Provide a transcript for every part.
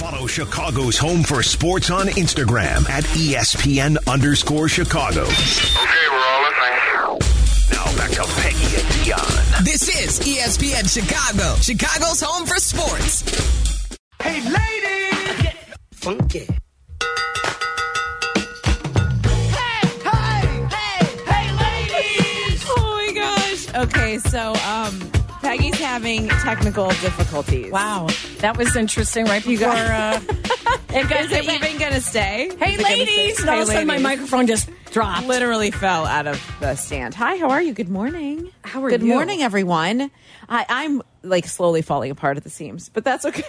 Follow Chicago's Home for Sports on Instagram at E ESPN underscore Chicago. Okay, we're all listening. Now back to Peggy and Dion. This is E ESPN Chicago, Chicago's home for sports. Hey, ladies! Get funky. Hey, hey, hey, hey, ladies! Oh my gosh. Okay, so um, Peggy's having technical difficulties. Wow, that was interesting. Right before, uh, and guys, Is it it went- even gonna stay? hey Is it gonna ladies, stay? and all Hey, of a sudden my ladies. microphone just dropped. literally fell out of the stand. Hi, how are you? Good morning. How are Good you? morning, everyone. I, I'm like slowly falling apart at the seams, but that's okay.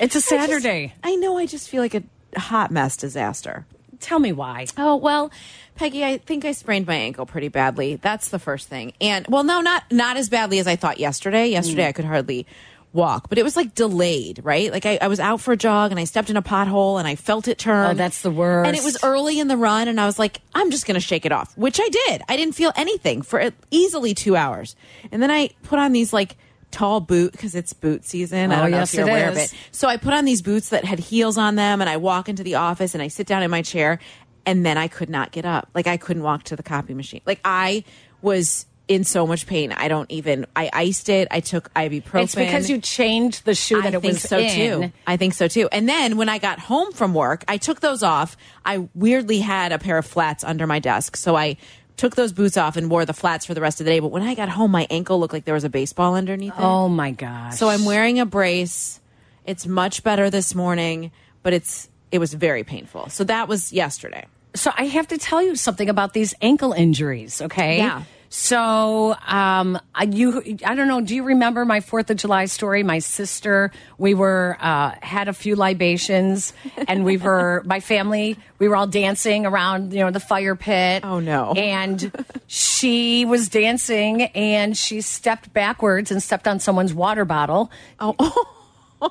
It's a I just- Saturday. I know. I just feel like a hot mess disaster. Tell me why. Oh well, Peggy, I think I sprained my ankle pretty badly. That's the first thing. And well, no, not not as badly as I thought yesterday. Mm. Yesterday I could hardly walk, but it was like delayed, right? Like I, I was out for a jog and I stepped in a pothole and I felt it turn. Oh, that's the worst. And it was early in the run, and I was like, I'm just gonna shake it off, which I did. I didn't feel anything for at- easily two hours, and then I put on these like tall boot because it's boot season. I Oh, don't know yes, if you're it aware of is. it. So I put on these boots that had heels on them and I walk into the office and I sit down in my chair and then I could not get up. Like I couldn't walk to the copy machine. Like I was in so much pain. I don't even I iced it. I took ibuprofen. It's because you changed the shoe I that it think was so in. too. I think so too. And then when I got home from work, I took those off. I weirdly had a pair of flats under my desk, so I took those boots off and wore the flats for the rest of the day. But when I got home, my ankle looked like there was a baseball underneath it. Oh my gosh. So I'm wearing a brace. It's much better this morning, but it's it was very painful. So that was yesterday. So I have to tell you something about these ankle injuries, okay? Yeah. So um, I- you, I don't know. Do you remember my Fourth of July story? My sister, we were uh, had a few libations, and we were my family. We were all dancing around, you know, the fire pit. Oh, no. And she was dancing, and she stepped backwards and stepped on someone's water bottle.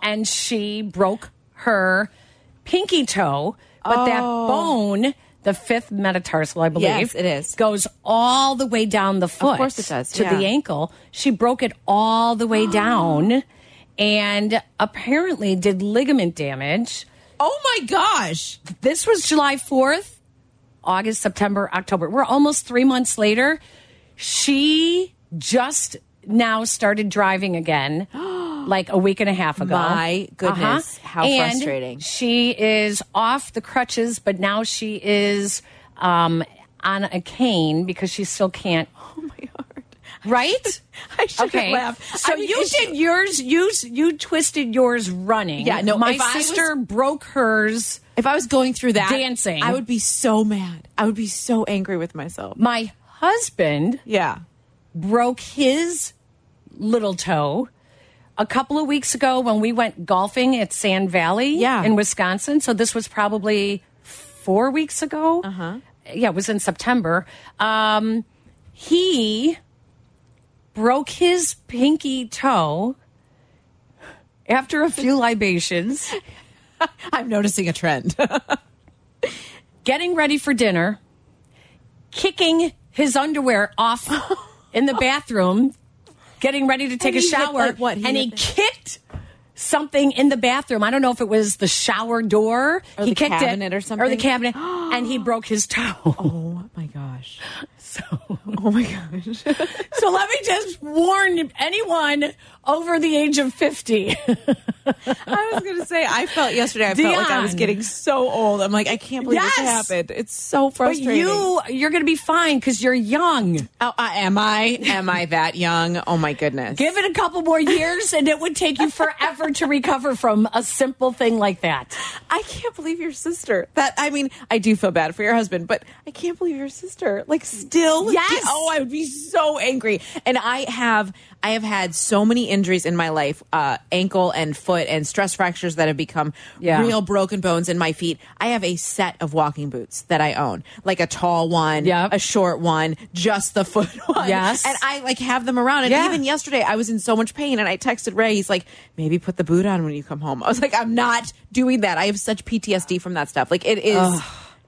and she broke her pinky toe. But that bone, the fifth metatarsal, I believe, Oh. Yes, it is. goes all the way down the foot. course it does, To yeah. the ankle. She broke it all the way down and apparently did ligament damage. Oh my gosh. This was July 4th, August, September, October. We're almost three months later. She just now started driving again, like a week and a half ago. Uh-huh. My goodness, how And frustrating. She is off the crutches, but now she is um, on a cane because she still can't. Oh my heart. Right? I should okay. laugh. So I mean, you it did yours. You you twisted yours running. Yeah, no, My if I was- sister broke hers. If I was going through that Dancing. I would be so mad. I would be so angry with myself. My husband Yeah. broke his little toe a couple of weeks ago when we went golfing at Sand Valley Yeah. in Wisconsin. So this was probably four weeks ago. Uh-huh. Yeah, it was in September. Um, he broke his pinky toe after a few libations. I'm noticing a trend. getting ready for dinner, kicking his underwear off in the bathroom, getting ready to take And a he hit, shower, like, what? He and hit he the- kicked something in the bathroom. I don't know if it was the shower door, Or he the kicked cabinet it, or or the something? cabinet, and he broke his toe. oh my gosh. So. Oh my gosh. So let me just warn anyone over the age of 50. I was going to say I felt yesterday I felt like I was Dion. getting so old. I'm like I can't believe this Yes. happened. It's so But frustrating. you you're going to be fine cuz you're young. oh, uh, am I am I that young? Oh my goodness. Give it a couple more years, and it would take you forever to recover from a simple thing like that. I can't believe your sister. That I mean, I do feel bad for your husband, but I can't believe your sister. Like still Yes. Oh, I would be so angry. And I have I have had so many injuries in my life, uh, ankle and foot and stress fractures that have become Yeah. real broken bones in my feet. I have a set of walking boots that I own. Like a tall one, Yep. a short one, just the foot one. Yes. And I like have them around. And Yeah. even yesterday I was in so much pain and I texted Ray, he's like, Maybe put the boot on when you come home. I was like, I'm not doing that. I have such PTSD from that stuff. Like it is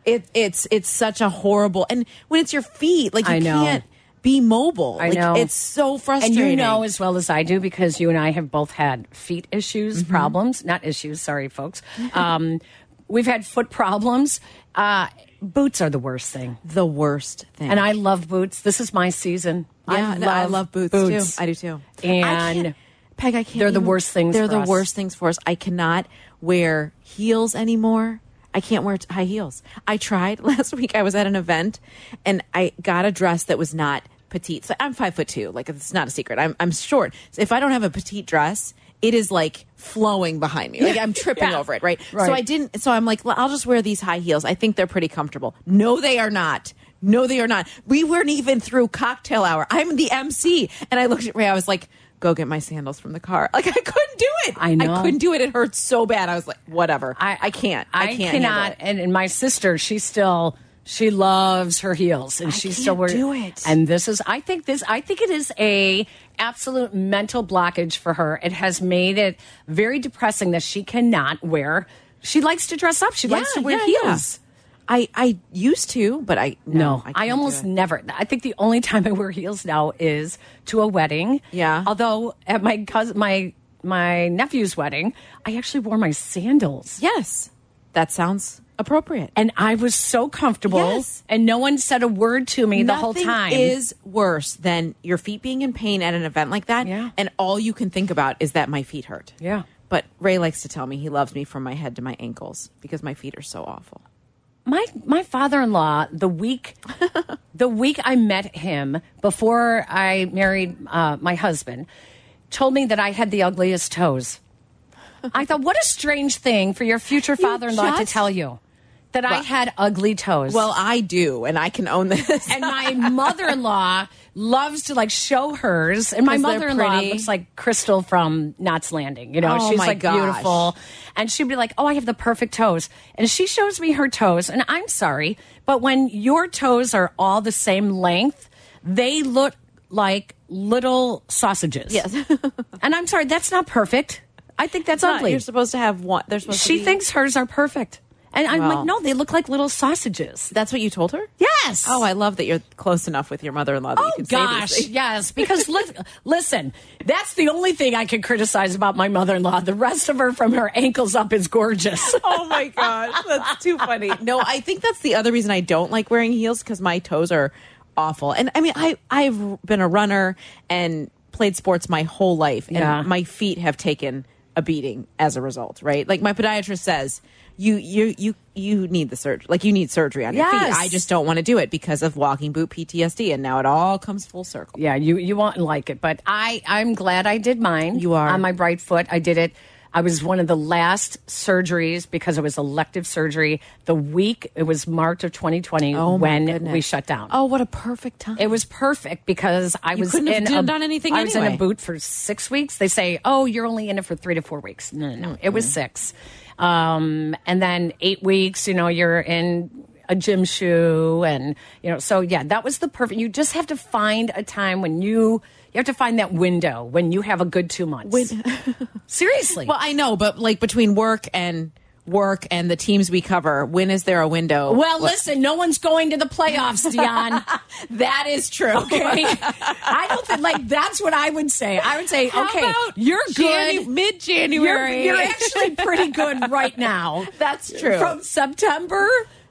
it it's it's such a horrible and when it's your feet, like you I know. can't be mobile. I like, know. It's so And frustrating. you know as well as I do because you and I have both had feet issues, Mm-hmm. problems, not issues, sorry, folks. Um, we've had foot problems. Uh, boots are the worst thing. the worst thing. And I love boots. This is my season. Yeah, I no, I love boots, too. I do too. I And can't- Peg, I can't. they're the even- worst things They're for the us. worst things for us. I cannot wear heels anymore. I can't wear t- high heels. I tried last week. I was at an event and I got a dress that was not petite. So I'm five foot two. Like it's not a secret. I'm I'm short. So if I don't have a petite dress. It is like flowing behind me. Like I'm tripping Yeah. over it, right? Right. So I didn't. So I'm like, "Well, I'll just wear these high heels. I think they're pretty comfortable. No, they are not. No, they are not. We weren't even through cocktail hour. I'm the MC, and I looked at Ray. I was like, "Go get my sandals from the car." Like I couldn't do it. I know. I couldn't do it. It hurts so bad. I was like, "Whatever. I, I can't. I, can't. handle cannot. it. And, and my sister, she still. She loves her heels, and I she can't still wears. do it. And this is, I think this, I think it is a absolute mental blockage for her. It has made it very depressing that she cannot wear. She likes to dress up. She likes to wear yeah, yeah. heels. I I used to, but I no. No, I, I, can't almost do it. never. I think the only time I wear heels now is to a wedding. Yeah. Although at my cousin, my my nephew's wedding, I actually wore my sandals. yes. That sounds appropriate. and I was so comfortable, Yes. and no one said a word to me the whole Nothing time. is worse than your feet being in pain at an event like that, Yeah. and all you can think about is that my feet hurt. Yeah. But Ray likes to tell me he loves me from my head to my ankles because my feet are so awful. my my father in law the week the week I met him before I married uh, my husband told me that I had the ugliest toes. I thought, what a strange thing for your future father in law to just- tell you that I had ugly toes. Well, I do, and I can own this. and my mother in law loves to like show hers. And my 'Cause they're mother in law pretty. looks like Crystal from Knots Landing. You know, Oh, she's my like gosh. beautiful. And she'd be like, Oh, I have the perfect toes. And she shows me her toes. And I'm sorry, but when your toes are all the same length, they look like little sausages. Yes. and I'm sorry, that's not perfect. I think that's Not- ugly. You're supposed to have one. They're supposed to she be- thinks hers are perfect. And I'm Wow. like, no, they look like little sausages. that's what you told her. Yes. Oh, I love that you're close enough with your mother-in-law. That you Oh can say gosh, these things. yes. Because li listen, that's the only thing I can criticize about my mother-in-law. The rest of her, from her ankles up, is gorgeous. Oh my gosh, that's too funny. No, I think that's the other reason I don't like wearing heels because my toes are awful. And I mean, I I've been a runner and played sports my whole life, and Yeah. my feet have taken a beating as a result. Right? Like my podiatrist says, you you you you need the surgery. Like you need surgery on your feet. Yes. I just don't want to do it because of walking boot PTSD, and now it all comes full circle. yeah, you you won't like it, but I I'm glad I did mine. You are. on my right foot. I did it. I was one of the last surgeries because it was elective surgery. The week it was March of 2020 Oh, my when we goodness. shut down. Oh, what a perfect time! It was perfect because I was couldn't have in d- a, done anything I was in a anyway. boot for six weeks. They say, "Oh, you're only in it for three to four weeks." No, no, no. It was six, um, and then eight weeks. You know, you're in a gym shoe, and you know, so yeah, that was the perfect. You just have to find a time when you you have to find that window when you have a good two months. Seriously, Well, I know, but like between work and work and the teams we cover, when is there a window? Well, listen, no one's going to the playoffs, Dion. that is true. Okay. I don't think, like, that's what I would say. I would say, okay, you're good. mid you're, January. you're actually pretty good right now. That's true. From September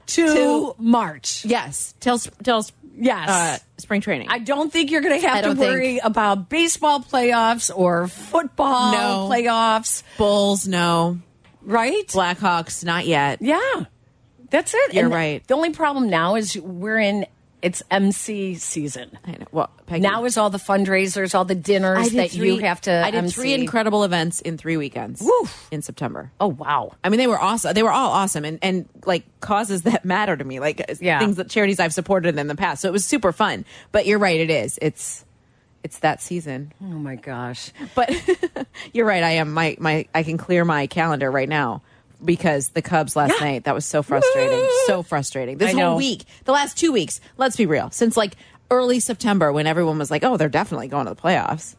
to, To- March. yes, till s- till s- Yes. uh, spring training. I don't think you're going to have I to don't think- worry about baseball playoffs or football No. playoffs, Bulls, no. right? Blackhawks, not yet. Yeah, that's it. You're And right. The only problem now is we're in it's MC season. I know. Well, Peggy, Now is all the fundraisers, all the dinners that you have to. um, I did MC. three incredible events in three weekends Woof. in September. Oh wow! I mean, they were awesome. They were all awesome, and and like causes that matter to me, like uh, Yeah. things that charities I've supported in the past. So it was super fun. But you're right, it is. It's it's that season. Oh my gosh! But you're right. I am my my. I can clear my calendar right now because the Cubs last Yeah. night. That was so frustrating. so frustrating. This I know. whole week, the last two weeks. Let's be real. Since like early September, when everyone was like, "Oh, they're definitely going to the playoffs."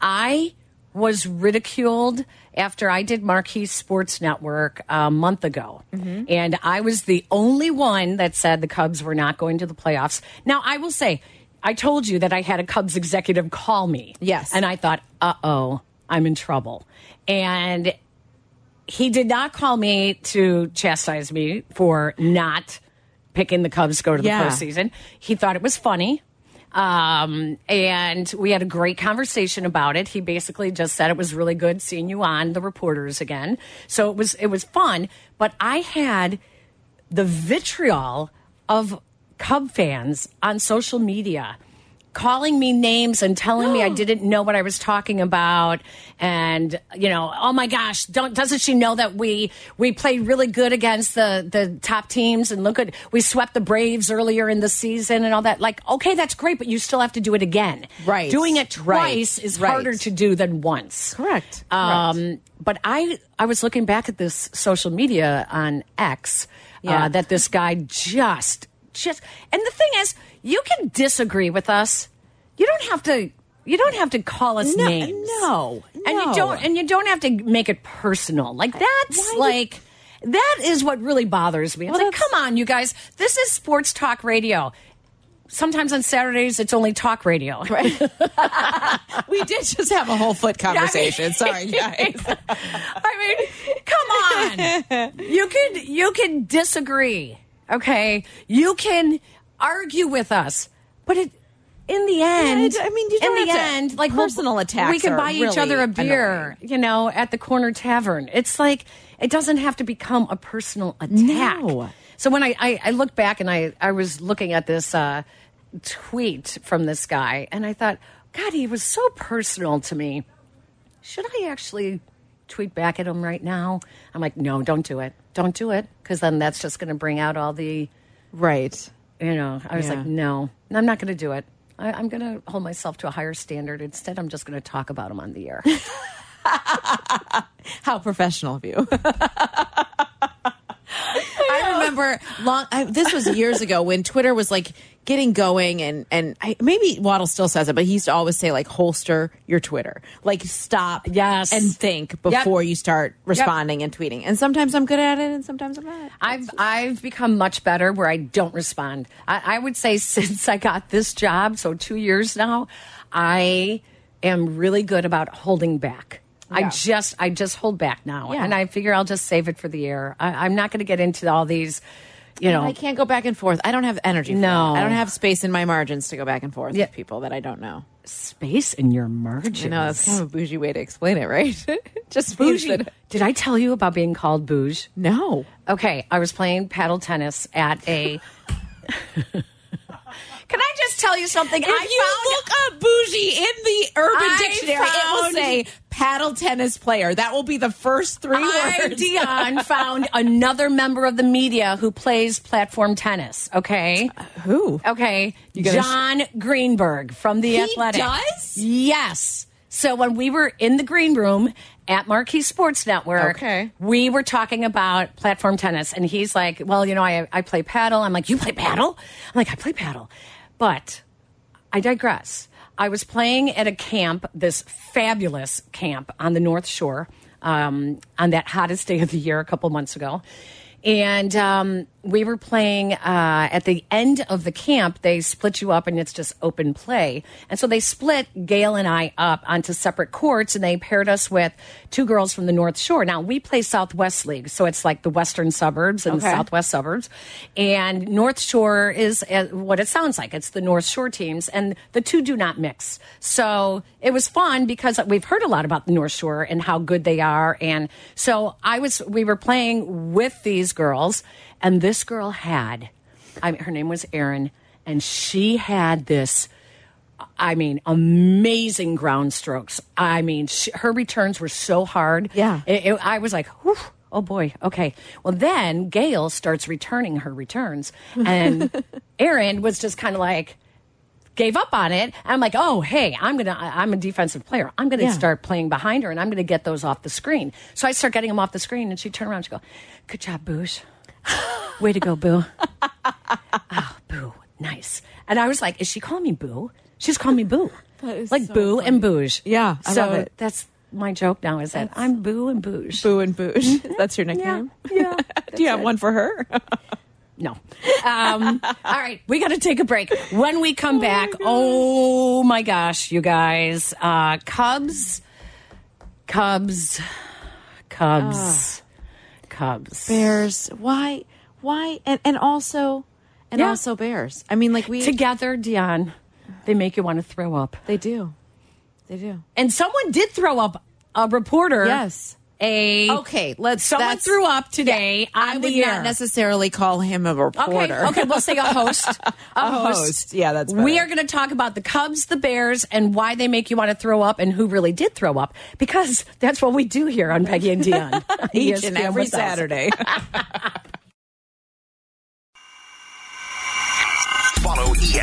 I was ridiculed after I did Marquee Sports Network a month ago, and I was the only one that said the Cubs were not going to the playoffs. Now I will say. I told you that I had a Cubs executive call me. Yes. And I thought, uh oh, I'm in trouble. And he did not call me to chastise me for not picking the Cubs to go to the Yeah. postseason. He thought it was funny. Um, and we had a great conversation about it. He basically just said it was really good seeing you on the reporters again. So it was it was fun, but I had the vitriol of Cub fans on social media calling me names and telling me I didn't know what I was talking about and you know oh my gosh don't doesn't she know that we we played really good against the the top teams and look at we swept the Braves earlier in the season and all that like okay that's great but you still have to do it again Right. doing it Right. twice is Right. harder to do than once Correct. um, but I I was looking back at this social media on X Yeah. uh, that this guy just just and the thing is you can disagree with us. You don't have to you don't have to call us No, names. no, And no. you don't and you don't have to make it personal. Like that's why do- like that is what really bothers me. It's Well, like, that's- come on, you guys. This is sports talk radio. Sometimes on Saturdays, it's only talk radio. we did just have a whole foot conversation. Sorry, guys. I mean, come on. You can you can disagree, okay? You can argue with us, but it in the end, I mean, you don't in the have to- end, like we'll- personal attacks We can are buy each really other a beer, annoying. you know, at the corner tavern. It's like it doesn't have to become a personal attack. No. So when I, I, I look back and I, I was looking at this uh, tweet from this guy, and I thought, God, he was so personal to me. Should I actually tweet back at him right now? I'm like, no, don't do it. Don't do it. Because then that's just going to bring out all the, right. you know, I was Yeah. like, no, I'm not going to do it. I, I'm going to hold myself to a higher standard. Instead, I'm just going to talk about him on the air. How professional of you. I remember long. I, this was years ago when Twitter was like getting going, and and I, maybe Waddle still says it, but he used to always say like holster your Twitter, like stop, Yes. and think before you start responding and tweeting. And sometimes I'm good at it, and sometimes I'm not. I've I've become much better where I don't respond. I, I would say since I got this job, so two years now, I am really good about holding back. I Yeah. just I just hold back now, Yeah. and I figure I'll just save it for the air. I, I'm not going to get into all these, you know. I can't go back and forth. I don't have energy. For No. that. I don't have space in my margins to go back and forth Yeah. with people that I don't know. space in your margins. I know that's kind of a bougie way to explain it, right? Just means bougie. that- Did I tell you about being called bouge? No. Okay, I was playing paddle tennis at a. Can I just tell you something? I found look up bougie in the Urban I found- paddle tennis player. That will be the first three I, Dion, found another member of the media who plays platform tennis. Okay. Who? Okay. gonna sh- John Greenberg from The He Athletic. does? Yes. So when we were in the green room at Marquee Sports Network, Okay. we were talking about platform tennis, and he's like, "Well, you know, I I play paddle." I'm like, "You play paddle?" I'm like, "I play paddle," but I digress. I was playing at a camp, this fabulous camp on the North Shore, um, on that hottest day of the year a couple months ago. And um, we were playing uh, at the end of the camp. They split you up and it's just open play. And so they split Gail and I up onto separate courts and they paired us with two girls from the North Shore. Now we play Southwest League. So it's like the Western suburbs and Okay. Southwest southwest suburbs. And North Shore is uh, what it sounds like. It's the North Shore teams, and the two do not mix. So it was fun because we've heard a lot about the North Shore and how good they are. And so I was, we were playing with these girls, and this girl had, I her name was Erin, and she had this. I mean, amazing ground strokes. I mean, sh her returns were so hard. Yeah. It- it- I was like, whew, oh boy, okay. Well, then Gail starts returning her returns, and Erin was just kind of like, gave up on it. I'm like, oh, hey, I'm gonna, I- I'm a defensive player. I'm gonna Yeah. start playing behind her, and I'm gonna get those off the screen. So I start getting them off the screen, and she turned around, and she go, good job, Boosh. Way to go, Boo. Ah, Boo, nice. And I was like, is she calling me Boo? She's calling me Boo. That is like so Boo and Booge. Yeah, I so love it. that's my joke now is that I'm Boo and Booge. Boo and Bouge. Mm-hmm. That's your Yeah, nickname. yeah. Do you have one for her? No. Um, all right, we got to take a break. When we come back, oh my gosh, you guys, uh, Cubs, Cubs, Ah. Cubs, Cubs. Bears. Why? Why? And and also, and Yeah. also bears. I mean, like we Together, Dion, they make you want to throw up. They do. They do. And someone did throw up. A reporter, Yes. A Okay, let's- Someone that's- threw up today on I the would air. not necessarily call him a reporter. Okay, okay, we'll say a host. A, host. host. Yeah, that's We better. are going to talk about the Cubs, the Bears, and why they make you want to throw up and who really did throw up because that's what we do here on Peggy and Dion. Each and every Saturday. Follow E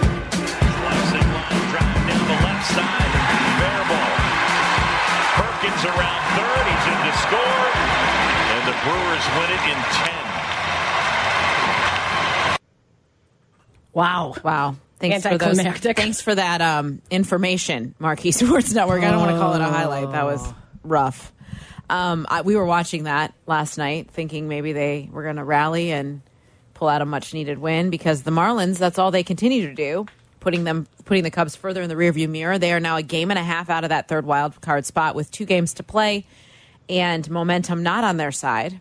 Classic line drive down the left side. Fair ball. Perkins around third. He's in to score. And the Brewers win it in 10. Wow. Wow. Thanks for, those, Anticlimactic. thanks for that um, information, Marquee Sports Network. I don't want to call it a highlight. That was rough. Um, I, we were watching that last night, thinking maybe they were going to rally and pull out a much needed win because the Marlins, that's all they continue to do, putting them putting the Cubs further in the rearview mirror. They are now a game and a half out of that third wild card spot with two games to play and momentum not on their side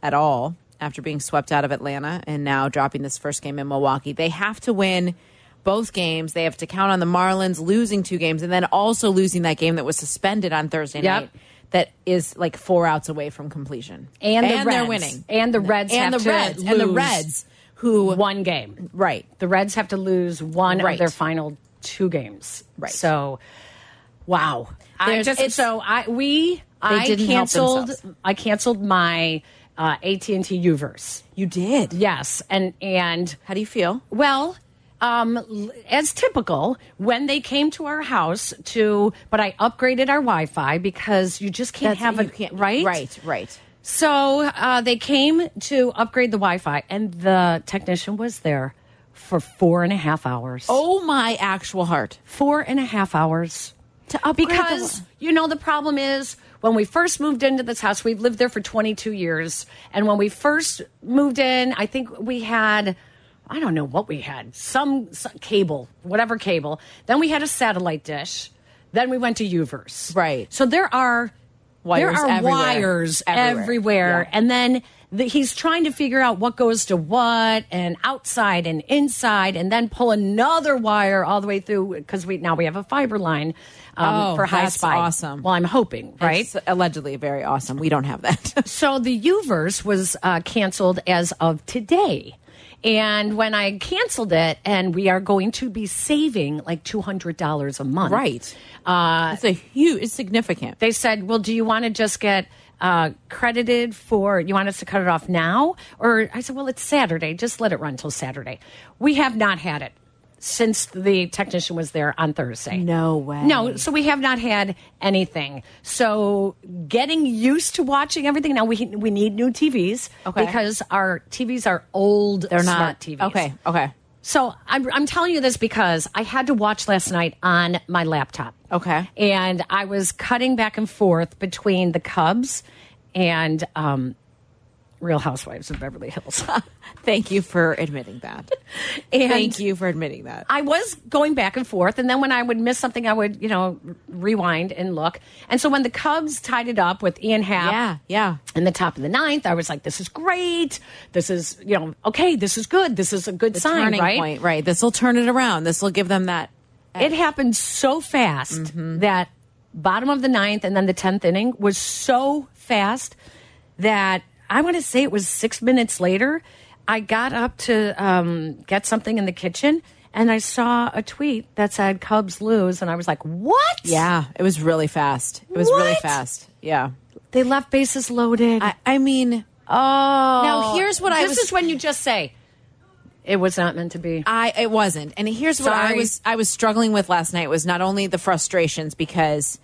at all after being swept out of Atlanta and now dropping this first game in Milwaukee. They have to win both games. They have to count on the Marlins losing two games and then also losing that game that was suspended on Thursday Yep. night. That is like four outs away from completion, And the they're Reds. winning, And the Reds and have the to Reds, and the lose. Reds, who One game. right, The Reds have to lose one Right. of their final two games. Right. So, wow. I There's- just it's- so I we I didn't help canceled themselves. I canceled my uh, AT and T Uverse. you did. Yes, and and How do you feel? Well, um, l- as typical, when they came to our house to, but I upgraded our Wi-Fi because you just can't have you a right, right, right. So uh, they came to upgrade the Wi-Fi, and the technician was there for four and a half hours. Oh my actual heart! Four and a half hours To upgrade the- because you know the problem is when we first moved into this house we've lived there for 22 years and when we first moved in i think we had i don't know what we had some, some cable whatever cable then we had a satellite dish then we went to uverse Right. so there are Wires there are everywhere. wires Everywhere. everywhere, Yeah. and then the, he's trying to figure out what goes to what and outside and inside and then pull another wire all the way through because we now we have a fiber line um, Oh, for high that's spy. awesome. Well, I'm hoping, right? It's allegedly very awesome. We don't have that. so the Uverse was uh, canceled as of today. And when I canceled it, and we are going to be saving like two hundred dollars a month, right. Uh, it's a huge. It's significant. they said, "Well, do you want to just get uh, credited for? You want us to cut it off now?" Or I said, "Well, it's Saturday. Just let it run till Saturday." We have not had it since the technician was there on Thursday. No way. No, so we have not had anything. So getting used to watching everything now. We we need new TVs Okay. because our TVs are old. They're smart TVs. Okay. Okay. So I'm, I'm telling you this because I had to watch last night on my laptop. Okay. And I was cutting back and forth between the Cubs and um, Real Housewives of Beverly Hills. Thank you for admitting that. And Thank you for admitting that. I was going back and forth, and then when I would miss something, I would you know rewind and look. And so when the Cubs tied it up with Ian Happ, Yeah. Yeah. in the top of the ninth, I was like, "This is great. This is you know okay. This is good. This is a good sign, Turning right?" point. Right. This will turn it around. This will give them that. It happened so fast Mm-hmm. that bottom of the ninth and then the tenth inning was so fast that I want to say it was six minutes later. I got up to um, get something in the kitchen and I saw a tweet that said Cubs lose, and I was like, "What? Yeah. It was really fast. It was really What? fast. Yeah. they left bases loaded." I, I mean, oh, Now, here's what I This was- is when you just say it was not meant to be. I it wasn't. And here's what I Sorry. was I was struggling with last night was not only the frustrations because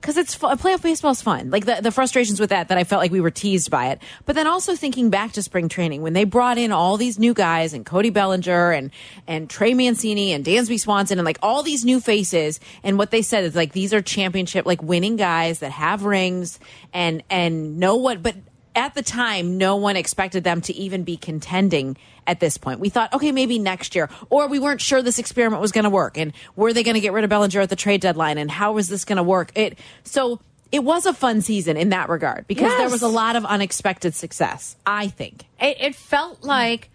because it's fu- playoff baseball's fun. Like the, the frustrations with that that I felt like we were teased by it. But then also thinking back to spring training when they brought in all these new guys and Cody Bellinger and and Trey Mancini and Dansby Swanson and like all these new faces and what they said is like these are championship like winning guys that have rings and and know what but at the time, no one expected them to even be contending at this point. We thought, okay, maybe next year, or we weren't sure this experiment was going to work, and were they going to get rid of Bellinger at the trade deadline, and how was this going to work? It so it was a fun season in that regard because there Yes. was a lot of unexpected success. I think it, it felt like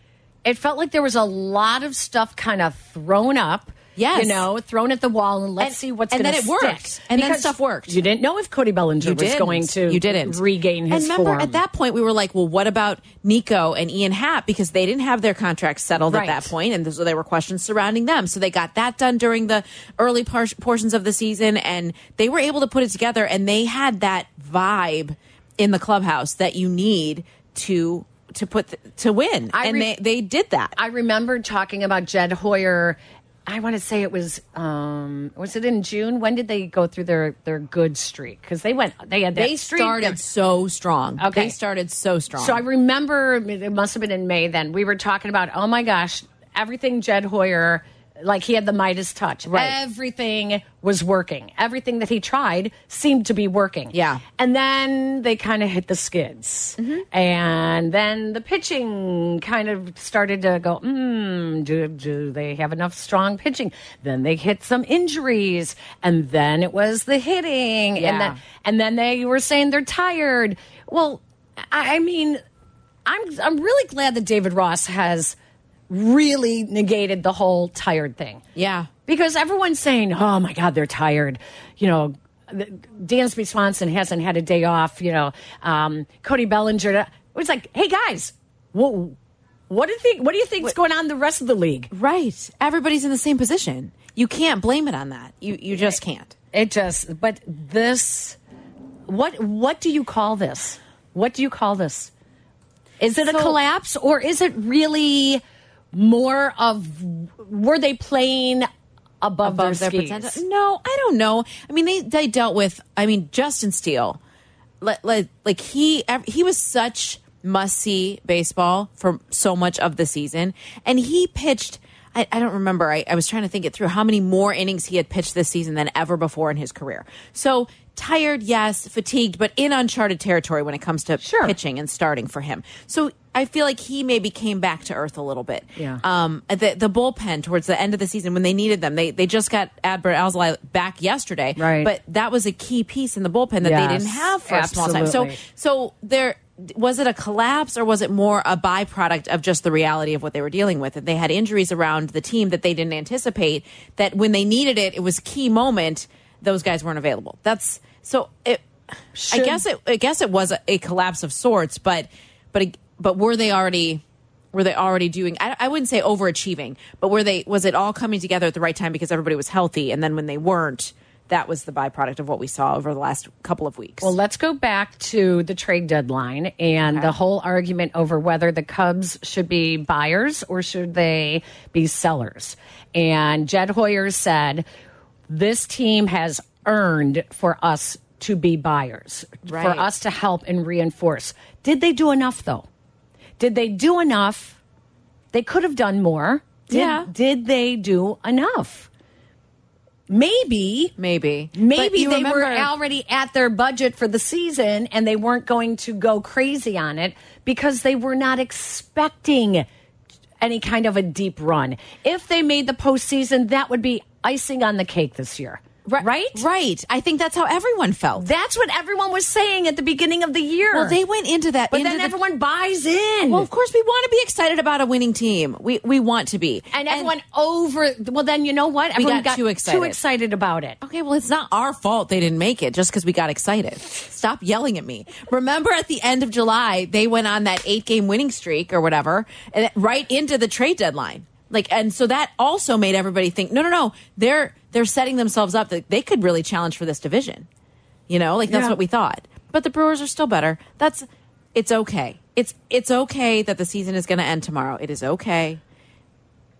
it felt like there was a lot of stuff kind of thrown up. Yes. you know, thrown at the wall, and let's And- see what's and going then to it worked. And then stuff worked. You didn't know if Cody Bellinger was didn't. going to you didn't regain his And remember, form. at that point, we were like, well, what about Nico and Ian Happ because they didn't have their contracts settled Right. at that point, and so there were questions surrounding them. So they got that done during the early par- portions of the season, and they were able to put it together, and they had that vibe in the clubhouse that you need to to put th to win, I and re- they they did that. I remembered talking about Jed Hoyer. I want to say it was um, was it in June? When did they go through their their good streak? Because they went they had that they streak. started so strong. Okay. They started so strong. So I remember it must have been in May then. We were talking about, oh my gosh, everything Jed Hoyer, like he had the Midas touch. Right. Everything was working. Everything that he tried seemed to be working. Yeah. Mm-hmm. And then they kind of hit the skids. And then the pitching kind of started to go, hmm, do, do they have enough strong pitching? Then they hit some injuries. And then it was the hitting. Yeah. And then and then they were saying they're tired. Well, I I mean, I'm I'm really glad that David Ross has really negated the whole tired thing. yeah. Because everyone's saying, "Oh my God, they're tired," you know. the- Dansby Swanson hasn't had a day off, you know. Um, Cody Bellinger. It's like, hey guys, what, what do you think? What do you think's going on in the rest of the league? Right. Everybody's in the same position. You can't blame it on that. You you just can't. It just, but this, what what do you call this? What do you call this? Is it a So- collapse or is it really more of were they playing above, above their, their skis? potential. No, I don't know. I mean, they they dealt with. I mean, Justin Steele, like like, like he ev- he was such must see baseball for so much of the season, and he pitched. I, I don't remember. I, I was trying to think it through how many more innings he had pitched this season than ever before in his career. So tired, yes, fatigued, but in uncharted territory when it comes to Sure. pitching and starting for him. So I feel like he maybe came back to earth a little bit Yeah. um, the the bullpen towards the end of the season when they needed them. They they just got Adbert Alzali back yesterday, Right. But that was a key piece in the bullpen that Yes, they didn't have for a small time. absolutely. So so there was it a collapse or was it more a byproduct of just the reality of what they were dealing with? That they had injuries around the team that they didn't anticipate. That when they needed it, it was key moment. Those guys weren't available. That's so. It, I Should- guess it. I guess it was a, a collapse of sorts, but but but were they already were they already doing? I, I wouldn't say overachieving, but were they? Was it all coming together at the right time because everybody was healthy, and then when they weren't, that was the byproduct of what we saw over the last couple of weeks. Well, let's go back to the trade deadline and the whole argument over whether the Cubs should be buyers or should they be sellers. And Jed Hoyer said, This team has earned for us to be buyers, Right. for us to help and reinforce. Did they do enough, though? Did they do enough? They could have done more. Did, Yeah. Did they do enough? Maybe maybe But Maybe you they were remember- already at their budget for the season and they weren't going to go crazy on it because they were not expecting any kind of a deep run. If they made the postseason, that would be icing on the cake this year. Right? Right. I think that's how everyone felt. That's what everyone was saying at the beginning of the year. well, they went into that. but into then the- everyone buys in. Well, of course, we want to be excited about a winning team. We we want to be, and everyone over well then you know what? Everyone got too excited. excited about it. Okay, well, it's not our fault they didn't make it just because we got excited. Stop yelling at me. Remember at the end of July, they went on that eight game winning streak or whatever, and it- right into the trade deadline. Like, and so that also made everybody think, no, no, no, they're they're setting themselves up that they could really challenge for this division. You know, like that's Yeah. what we thought. But the Brewers are still better. That's it's okay. It's it's okay that the season is going to end tomorrow. It is okay.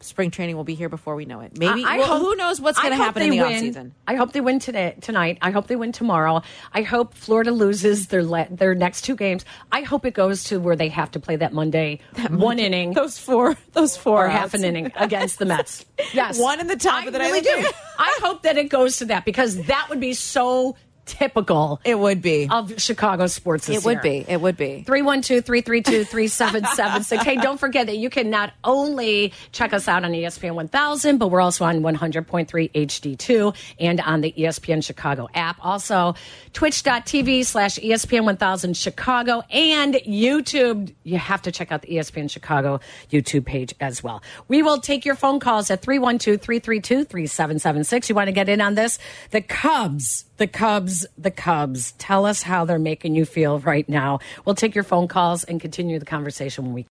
spring training will be here before we know it. Maybe. I- I well, hope- who knows what's I going to hope happen in they the win. offseason? I hope they win today, tonight. I hope they win tomorrow. I hope Florida loses their la their next two games. I hope it goes to where they have to play that Monday, one inning Those four. Those four. or half an inning against the Mets. Yes, One in the top I of the really ninth do. inning. I hope that it goes to that because that would be so typical It would be. of Chicago sports. This it would year. be. It would be. 312 332 3776. Hey, don't forget that you can not only check us out on E ESPN 1000, but we're also on 100.3 HD2 and on the E ESPN Chicago app. Also, twitch.tv slash E ESPN 1000 Chicago and YouTube. You have to check out the E ESPN Chicago YouTube page as well. We will take your phone calls at 312 332 3776. You want to get in on this? The Cubs, the Cubs, the Cubs. Tell us how they're making you feel right now. We'll take your phone calls and continue the conversation when we.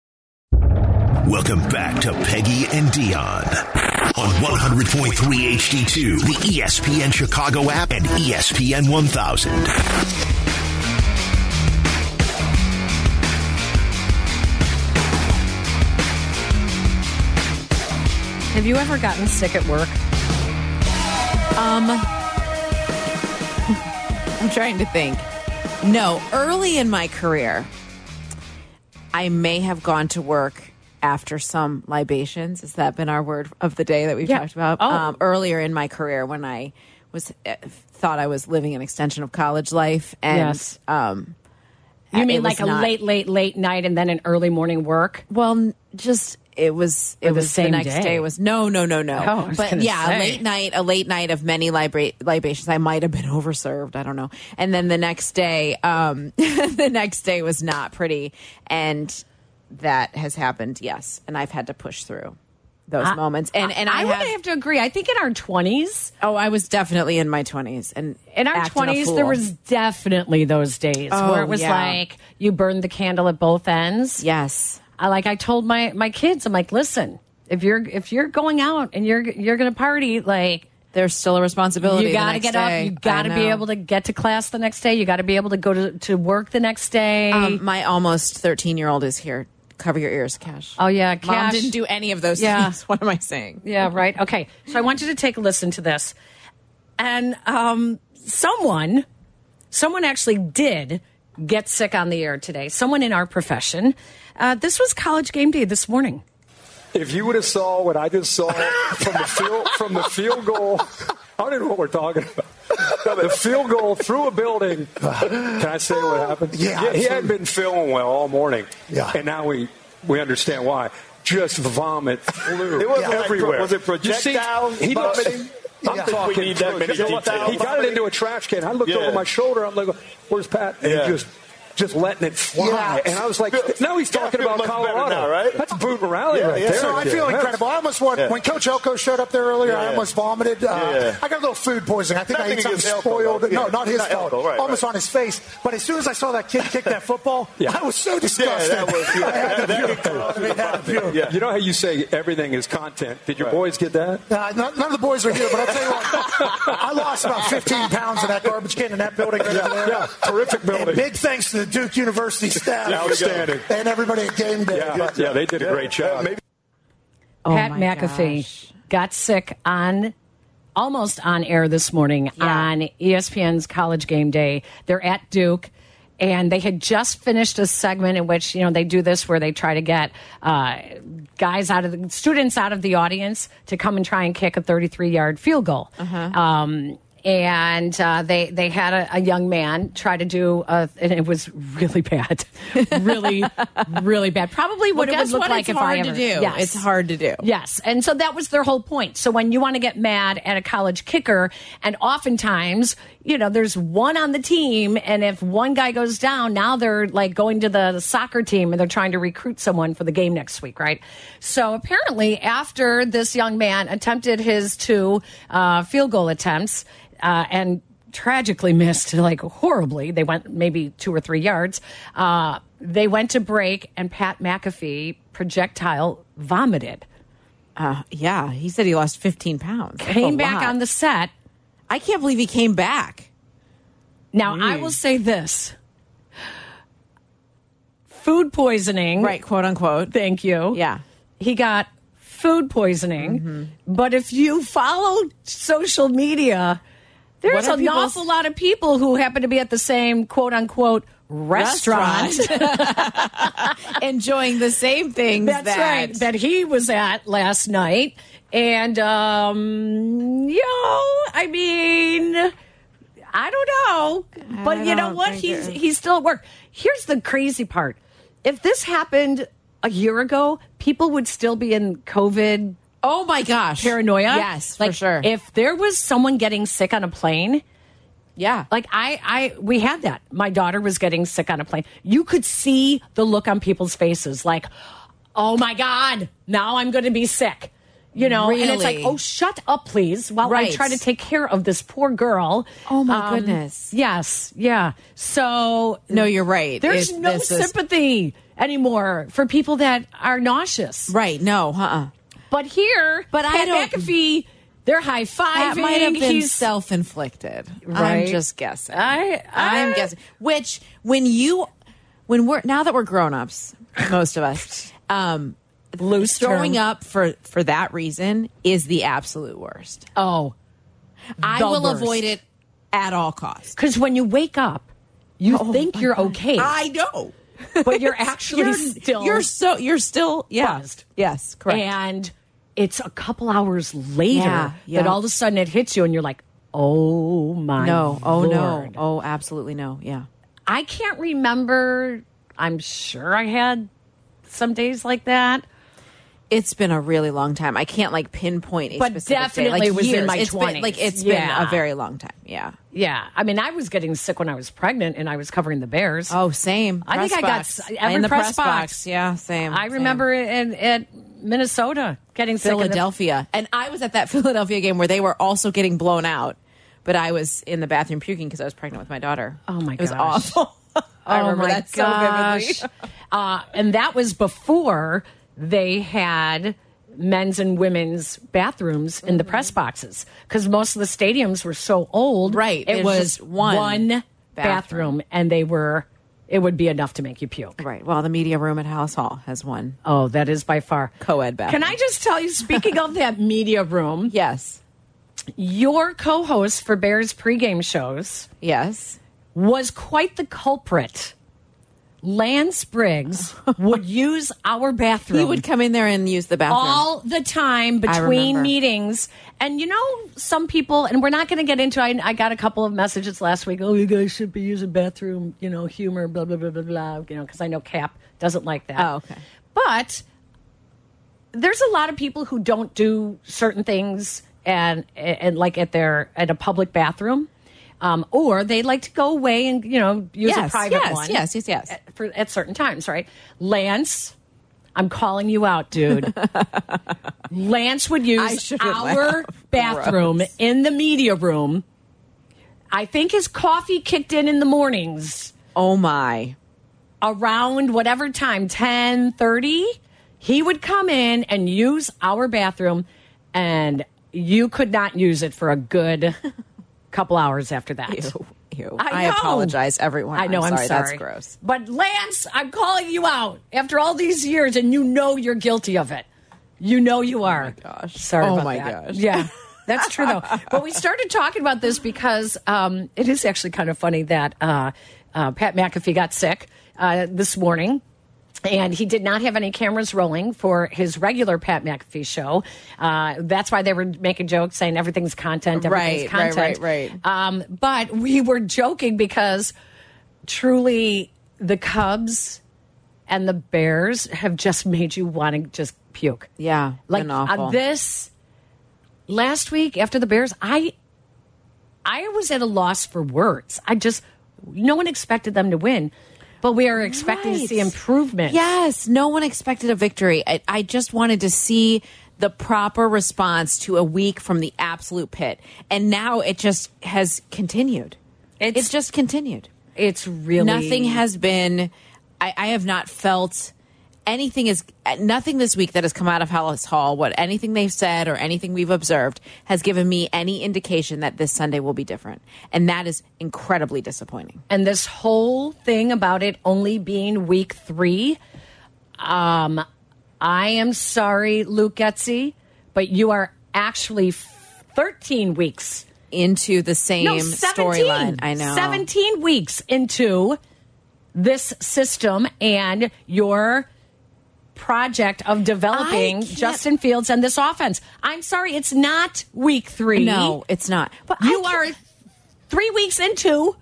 Welcome back to Peggy and Dion on 100.3 HD2, the E ESPN Chicago app and E ESPN 1000. Have you ever gotten sick at work? Um, I'm trying to think. No, early in my career, I may have gone to work after some libations. Has that been our word of the day that we've Yeah. talked about? Oh. Um, earlier in my career, when I was eh, thought I was living an extension of college life, and Yes. um, You it mean was like a not- late, late, late night and then an early morning work? Well, n- just it was it the was the same next day. day. was no no no no. Oh, I was but gonna yeah, say. a late night a late night of many libra- libations. I might have been overserved. I don't know. And then the next day, um, the next day was not pretty, and that has happened. Yes, and I've had to push through those moments. And and I, I, would have, have to agree. I think in our 20s, oh, I was definitely in my twenties and in our acting a 20s, there fool. was definitely those days Oh, where it was yeah. like you burned the candle at both ends. yes. I like I told my my kids, I'm like, listen, if you're if you're going out and you're you're gonna party, like There's still a responsibility. you got to get up, you got to be able to get to class the next day, you got to be able to go to, to work the next day. Um, my almost 13 year old is here. Cover your ears, Cash. oh yeah, Mom cash. didn't do any of those Yeah. things. What am I saying? Yeah, right. Okay. So I want you to take a listen to this. And um, someone, someone actually did get sick on the air today. Someone in our profession. Uh, this was college game day this morning. If you would have saw what I just saw from the field from the field goal, I don't even know what we're talking about. The field goal through a building. Can I say what happened? Yeah, he hadn't been feeling well all morning. Yeah. and now we we understand why. Just vomit flew It wasn't like- everywhere. was it projectile You see, he vomiting? I'm Yeah. talking. We need that many details. He got it into a trash can. I looked Yeah. over my shoulder. I'm like, "Where's Pat?" And Yeah. he just just letting it fly. Yeah. And I was like, Feels- "Now he's yeah, talking feels about much better Colorado, now, right? That's boot morality Oh, Yeah, right yeah. there. So I kid. feel That's- incredible. I almost want Yeah. when Coach Elko showed up there earlier. I Yeah. almost vomited. Uh, Yeah. I got a little food poisoning. I think Nothing I ate something against Elko, spoiled. though. No, Yeah. not his Not fault. Elko, right, almost right. on his face. But as soon as I saw that kid kick that football, Yeah. I was so disgusted. that was- yeah, I had that- to that puke. I mean, I had to puke. You know how you say everything is content? Did your boys get that? Uh, none, none of the boys are here, but I'll tell you what, I lost about 15 pounds in that garbage can in that building. right there. yeah. Terrific building. And big thanks to the Duke University staff. Yeah, outstanding. And everybody at game day. Yeah, yeah, they did a great job. Oh Pat my McAfee gosh. got sick on almost on air this morning on E ESPN's College Game Day. They're at Duke. And they had just finished a segment in which you know they do this where they try to get uh, guys out of the students out of the audience to come and try and kick a 33 yard field goal. Uh-huh. Um, and uh, they they had a, a young man try to do a, and it was really bad, really really bad. Probably what Well, it would guess look what? like It's if hard I to ever, do. It's hard to do. Yes. And so that was their whole point. So when you want to get mad at a college kicker, and oftentimes, you know, there's one on the team, and if one guy goes down, now they're like going to the soccer team and they're trying to recruit someone for the game next week, right? So apparently, after this young man attempted his two uh, field goal attempts uh, and tragically missed like horribly, they went maybe two or three yards. Uh, they went to break, and Pat McAfee projectile vomited Uh, yeah, he said he lost 15 pounds. That's came a back lot. on the set. I can't believe he came back. Now, I Mm. will say this food poisoning. Right, quote unquote. Thank you. Yeah. Mm-hmm. He got food poisoning, but if you follow social media, What there's are an people's- awful lot of people who happen to be at the same quote unquote restaurant. enjoying the same things. That's that- right. That he was at last night. And, um, you know, I mean, I don't know. But I you know don't what? think He's, it- he's still at work. Here's the crazy part. If this happened a year ago, people would still be in COVID oh my gosh, paranoia. Yes, like, for sure. If there was someone getting sick on a plane, yeah, like I, I, we had that. My daughter was getting sick on a plane. You could see the look on people's faces, like, "Oh my god, now I'm going to be sick," you know. And it's like, Really? "Oh, shut up, please," while I Right. try to take care of this poor girl. Um, Oh, my goodness. Yes, yeah. So No, you're right. There's It- no this is- sympathy anymore for people that are nauseous. right. No, uh. uh But here, But I Pat don't- McAfee, they're high fiving. That might have been He's self-inflicted. Right. I'm just guessing. I- I- am guessing. Which when you when we're now that we're grown-ups, most of us, um loose throwing term. up for for that reason is the absolute worst. Oh. I The will worst. avoid it at all costs. Because when you wake up, you think you're okay, Oh I know. but you're actually You're still You're so you're still yeah. Buzzed. Yes, correct. and it's a couple hours later Yeah, yeah. that all of a sudden it hits you, and you're like, "Oh my no, oh no. Lord. Oh, absolutely no. Yeah. I can't remember. I'm sure I had some days like that. It's been a really long time. I can't like pinpoint a But specific day, definitely like, it was in years. my It's been- 20s. like it's Yeah. been a very long time. Yeah. Yeah, I mean, I was getting sick when I was pregnant, and I was covering the bears. Oh, same. I think Press I got box. s- every in the press press box. Yeah, same. I same. remember it in at Minnesota getting sick in the- Philadelphia, and I was at that Philadelphia game where they were also getting blown out, but I was in the bathroom puking because I was pregnant with my daughter. Oh, my It was gosh. awful. I oh remember my that gosh. so vividly. uh, and that was before they had men's and women's bathrooms in Mm-hmm. the press boxes because most of the stadiums were so old. Right, It there's was just one one bathroom. bathroom. and they were, it would be enough to make you puke. Right. Well, the media room at House Hall has one. Oh, that is by far Co-ed bathroom. Can I just tell you, speaking of that media room, Yes. your co host for Bears pregame shows. Yes. was quite the culprit. Lance Briggs would use our bathroom. He would come in there and use the bathroom. all the time between remember. meetings. And you know, some people, and we're not going to get into. I, I got a couple of messages last week. Oh, you guys should be using bathroom, you know, humor, blah blah blah blah blah. You know, because I know Cap doesn't like that. Oh, okay. But there's a lot of people who don't do certain things, and and like at their at a public bathroom. Um, or they like to go away and you know use a Yes, private yes, one yes, yes, yes. at, for, at certain times, right? Lance, I'm calling you out, dude. Lance would I use shouldn't our bathroom in the media room. I think his coffee kicked in in the mornings Oh my. around whatever time 10:30 he would come in and use our bathroom and you could not use it for a good couple hours after that. Ew. Ew. I, know. apologize, everyone. I know. I'm sorry. That's gross. But Lance, I'm calling you out after all these years, and you know you're guilty of it. You know you are. Oh gosh. Sorry. Oh about my that. gosh. Yeah, that's true though. but we started talking about this because um, it is actually kind of funny that uh, uh, Pat McAfee got sick uh, this morning. And he did not have any cameras rolling for his regular Pat McAfee show. Uh, that's why they were making jokes saying everything's content, Right, everything's right, content. right, right. Um, but we were joking because truly the Cubs and the Bears have just made you want to just puke. Yeah. Like been awful. on this last week after the Bears, I I was at a loss for words. I just no one expected them to win, but we are expecting to Right. see improvement. Yes, no one expected a victory. I, I just wanted to see the proper response to a week from the absolute pit, and now it just has continued. It's, just continued. It's really Nothing has been. I, I have not felt anything is nothing this week that has come out of Hollis Hall. What anything they've said or anything we've observed has given me any indication that this Sunday will be different, and that is incredibly disappointing. and this whole thing about it only being week three um I am sorry, Luke Getzey, but you are actually 13 weeks. into the same No, 17. storyline. I know. 17 weeks into this system and your project of developing I can't- Justin Fields and this offense. I'm sorry, it's not week three. No, it's not. But you I are three weeks into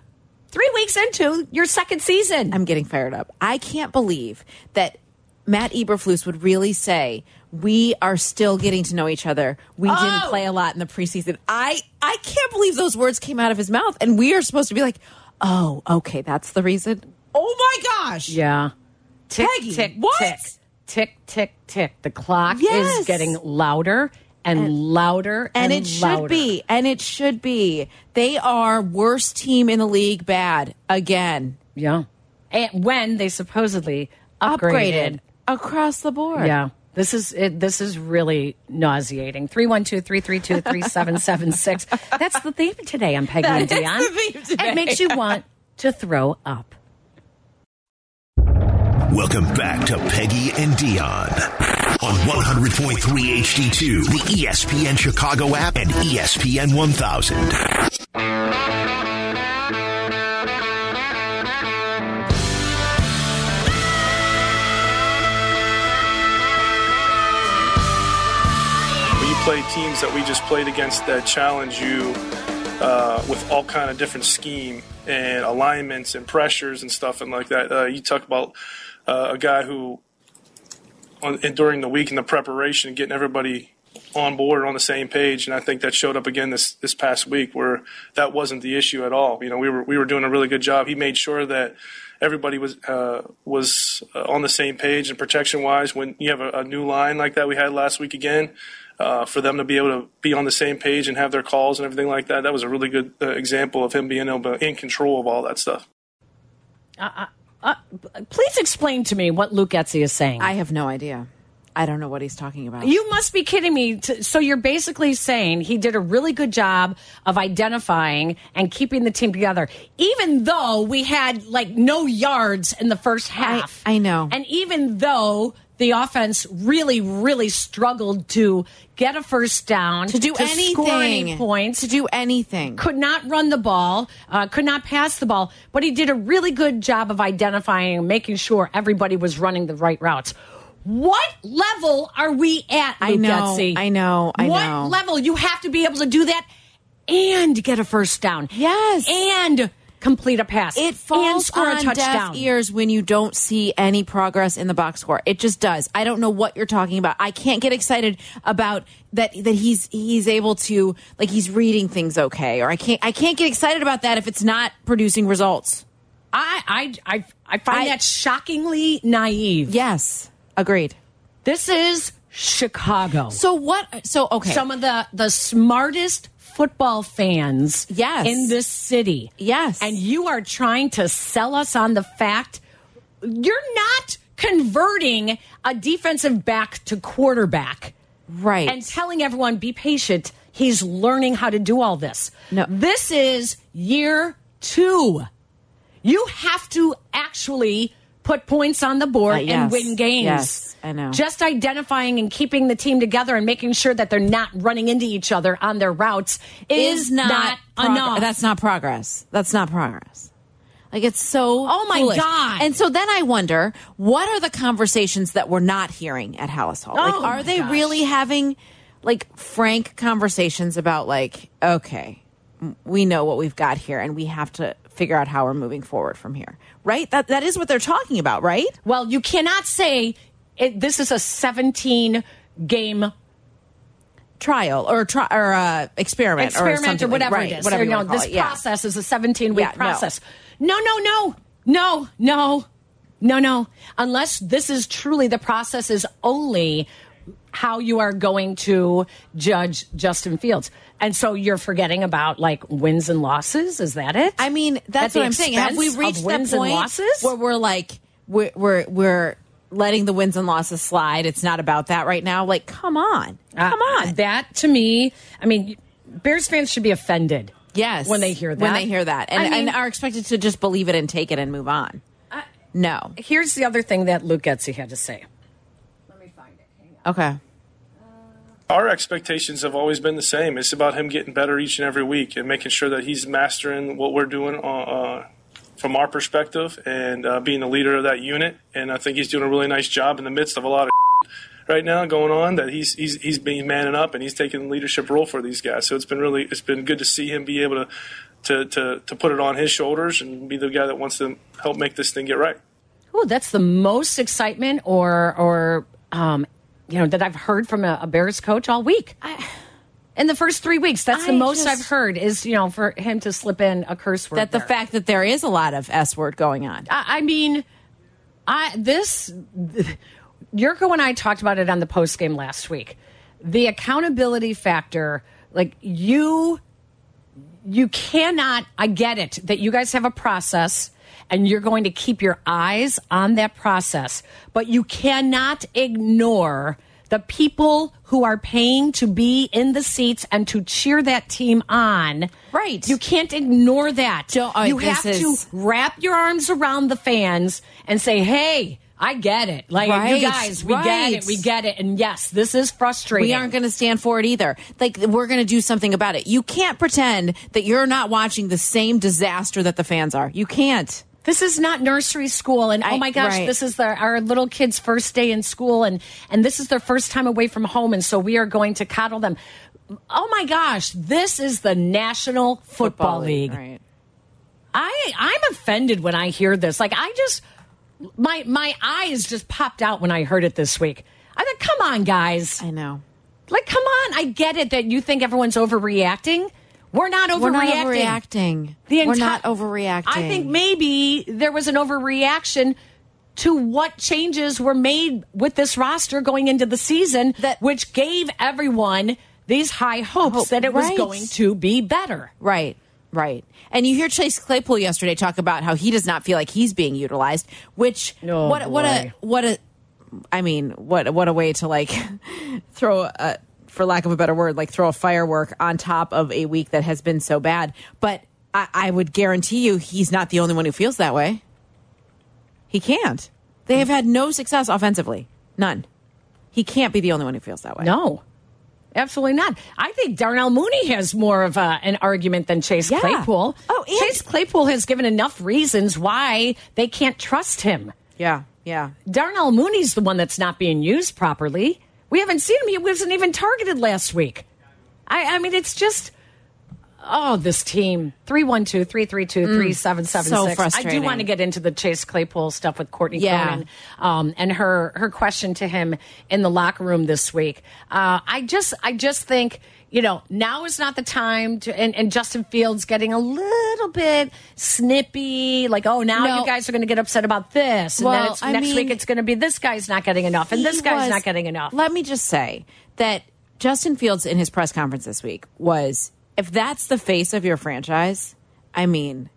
three weeks into your second season. I'm getting fired up. I can't believe that Matt Eberflus would really say we are still getting to know each other. We Oh. didn't play a lot in the preseason. I I can't believe those words came out of his mouth, and we are supposed to be like, oh, okay, that's the reason. Oh my gosh! yeah. Tick Peggy, tick what? tick tick tick tick. The clock Yes. is getting louder and, louder And and, it should louder. be, and it should be. They are worst team in the league. Bad again. Yeah. And when they supposedly Upgraded upgraded. across the board. Yeah. This is it, this is really nauseating. 312-332-3776. That's the theme today on Peggy and Dion. It makes you want to throw up. Welcome back to Peggy and Dion on 100.3 HD2, the E ESPN Chicago app, and E ESPN 1000. When you play teams that we just played against that challenge you uh, with all kind of different scheme and alignments and pressures and stuff and like that, uh, you talk about uh, a guy who on, and during the week and the preparation, getting everybody on board on the same page, and I think that showed up again this this past week where that wasn't the issue at all. You know, we were we were doing a really good job. He made sure that everybody was uh, was uh, on the same page and protection wise. When you have a, a new line like that we had last week again. Uh, for them to be able to be on the same page and have their calls and everything like that, that was a really good uh, example of him being able to, in control of all that stuff. Uh, Please explain to me what Luke Etsy is saying. I have no idea. I don't know what he's talking about. You must be kidding me. T- So you're basically saying he did a really good job of identifying and keeping the team together, even though we had like no yards in the first half. I know. And even though the offense really, really struggled to get a first down, to do anything, score any points, to do anything. could not run the ball, uh, could not pass the ball, but he did a really good job of identifying and making sure everybody was running the right routes. What level are we at, I Luke know, Getsy? I know, I what know. level you have to be able to do that and get a first down? Yes. and complete a pass. It and falls score on a deaf touchdown. ears when you don't see any progress in the box score. It just does. I don't know what you're talking about. I can't get excited about that that he's he's able to like he's reading things okay, or I can't I can't get excited about that if it's not producing results. I, I, I, I find I- that shockingly naive. Yes, agreed. This is Chicago. So what? So okay. some of the the smartest football fans Yes. in this city. Yes. And you are trying to sell us on the fact you're not converting a defensive back to quarterback right. and telling everyone be patient. He's learning how to do all this. No. This is year 2. You have to actually put points on the board Uh, and yes. win games. Yes, I know. Just identifying and keeping the team together and making sure that they're not running into each other on their routes is, not, prog- enough. That's not progress. That's not progress. Like it's so. Oh, my foolish. God. And so then I wonder, what are the conversations that we're not hearing at Hallis Hall? like, Oh, my are they gosh. really having like frank conversations about like, okay, m- we know what we've got here, and we have to figure out how we're moving forward from here, right? That that is what they're talking about, right? well, you cannot say it, this is a 17 game Trial or tri- or uh, experiment, or, experiment or, something like- whatever right, it is. Whatever Or you no, wanna call this it, yeah. process is a 17 week Yeah, no. process. No, no, no, no, no, no, no. Unless this is truly the process is only how you are going to judge Justin Fields. And so you're forgetting about like wins and losses. Is that it? I mean, At that's the what I'm saying. Have we expense of reached that wins and point losses? where we're like, we're, we're we're letting the wins and losses slide? It's not about that right now. Like, come on, Uh, come on. That to me, I mean, Bears fans should be offended. yes, When they hear that. when they hear that, and I mean- and are expected to just believe it and take it and move on. no, Here's the other thing that Luke Getzey had to say. Let me find Okay. Our expectations have always been the same. It's about him getting better each and every week and making sure that he's mastering what we're doing uh, uh, from our perspective and uh, being the leader of that unit. And I think he's doing a really nice job in the midst of a lot of right now going on that he's he's he's being manning up and he's taking the leadership role for these guys. So it's been really it's been good to see him be able to to to, to put it on his shoulders and be the guy that wants to help make this thing get right. Oh, that's the most excitement or or um, you know that I've heard from a, a Bears coach all week. in the first three weeks, that's the I most just- I've heard is you know for him to slip in a curse word. That the there. fact that there Uh, is a lot of S word going on. I, I mean, I this Yurko and I talked about it on the post game last week. The accountability factor, like you, you cannot. I get it that you guys have a process and you're going to keep your eyes on that process, but you cannot ignore the people who are paying to be in the seats and to cheer that team on. Right. You can't ignore that. Don't- uh, you this have is- to wrap your arms around the fans and say, "Hey, I get it. Like Right, you guys, we get right. it. We get it. And yes, this is frustrating. We aren't going to stand for it either. Like, we're going to do something about it. You can't pretend that you're not watching the same disaster that the fans are. You can't. This is not nursery school, and I- oh my gosh, right. this is their, our little kid's first day in school, and and this is their first time away from home, and so we are going to coddle them. Oh my gosh, this is the National Football, League. Right. I I'm offended when I hear this. Like I just my my eyes just popped out when I heard it this week. I thought, come on, guys. I know. Like, come on. I get it that you think everyone's overreacting. We're not overreacting. We're not overreacting. The we're enti- not overreacting. I think maybe there was an overreaction to what changes were made with this roster going into the season, That- which gave everyone these high hopes Hope, that it was right. going to be better. Right, right. And you hear Chase Claypool yesterday talk about how he does not feel like he's being utilized, which Oh, what what a boy. what a I mean, what what a way to like throw a for lack of a better word, like throw a firework on top of a week that has been so bad. But I, I would guarantee you he's not the only one who feels that way. He can't. They have had no success offensively. None. He can't be the only one who feels that way. No, absolutely not. I think Darnell Mooney has more of a, an argument than Chase Yeah. Claypool. Oh, and- Chase Claypool has given enough reasons why they can't trust him. Yeah, yeah. Darnell Mooney's the one that's not being used properly. We haven't seen him. He wasn't even targeted last week. I, I mean, it's just, oh, this team. 312 332 Mm. so 3776. I do frustrating. want to get into the Chase Claypool stuff with Courtney Yeah. Cronin um, and her, her question to him in the locker room this week. Uh, I just I just think. You know, now is not the time to, and, and Justin Fields getting a little bit snippy, like, oh, now No. you guys are going to get upset about this. And Well, then it's, I next week mean- it's going to be this guy's not getting enough and this he guy's was- not getting enough. Let me just say that Justin Fields in his press conference this week was if that's the face of your franchise, I mean,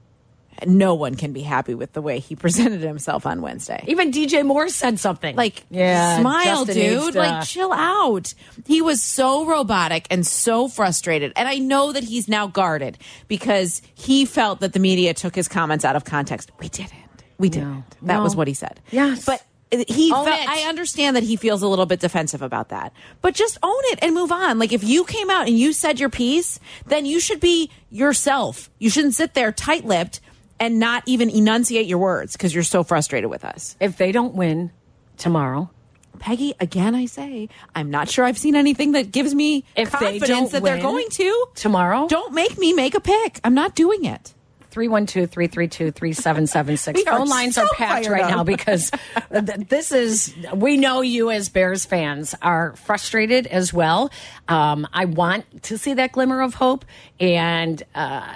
no one can be happy with the way he presented himself on Wednesday. Even DJ Moore said something. Like, smile, Justin needs dude. to- Like, chill out. He was so robotic and so frustrated. And I know that he's now guarded because he felt that the media took his comments out of context. We didn't. We didn't. That was No. what he said. Yes. But he Own felt, it. I understand that he feels a little bit defensive about that, but just own it and move on. Like, if you came out and you said your piece, then you should be yourself. You shouldn't sit there tight lipped and not even enunciate your words because you're so frustrated with us. if they don't win tomorrow, Peggy, again, I say, I'm not sure I've seen anything that gives me If they confidence don't that they're win going to tomorrow? Don't make me make a pick. I'm not doing it. 312 332 3776. We are Phone lines so are packed fired right up. now because th- this is, we know you as Bears fans are frustrated as well. Um, I want to see that glimmer of hope, and uh,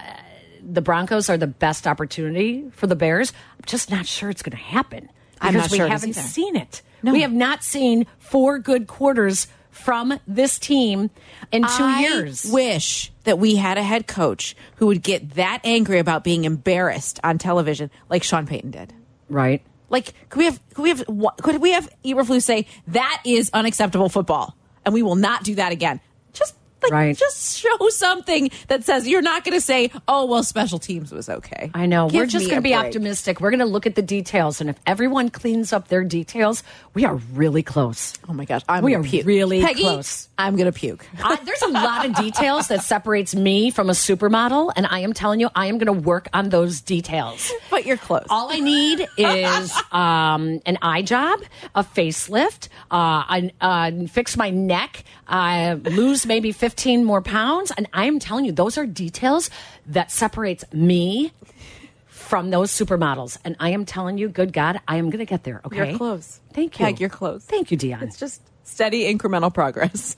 the Broncos are the best opportunity for the Bears. I'm just not sure it's going to happen I'm because not we sure it is haven't either. seen it. No. We have not seen four good quarters from this team in two I years. wish that we had a head coach who would get that angry about being embarrassed on television like Sean Payton did. right. Like, could we have, could we have, wha- could we have Eberflus say that is unacceptable football, and we will not do that again? Just Like, Right. just show something that says you're not going to say, "Oh, well, special teams was okay." I know. Give We're just me going a to be break. optimistic. We're going to look at the details. And if everyone cleans up their details, we are really close. Oh my gosh, I'm We gonna are puke. really Peggy, close. I'm going to puke. I, there's a lot of details that separates me from a supermodel. And I am telling you, I am going to work on those details. But you're close. All I need is um, an eye job, a facelift, uh, an, uh, fix my neck, uh, lose maybe 15 more pounds. And I am telling you, those are details that separates me from those supermodels. And I am telling you, good God, I am going to get there. Okay. You're close. Thank you. Peg, you're close. Thank you, Dion. It's just steady incremental progress.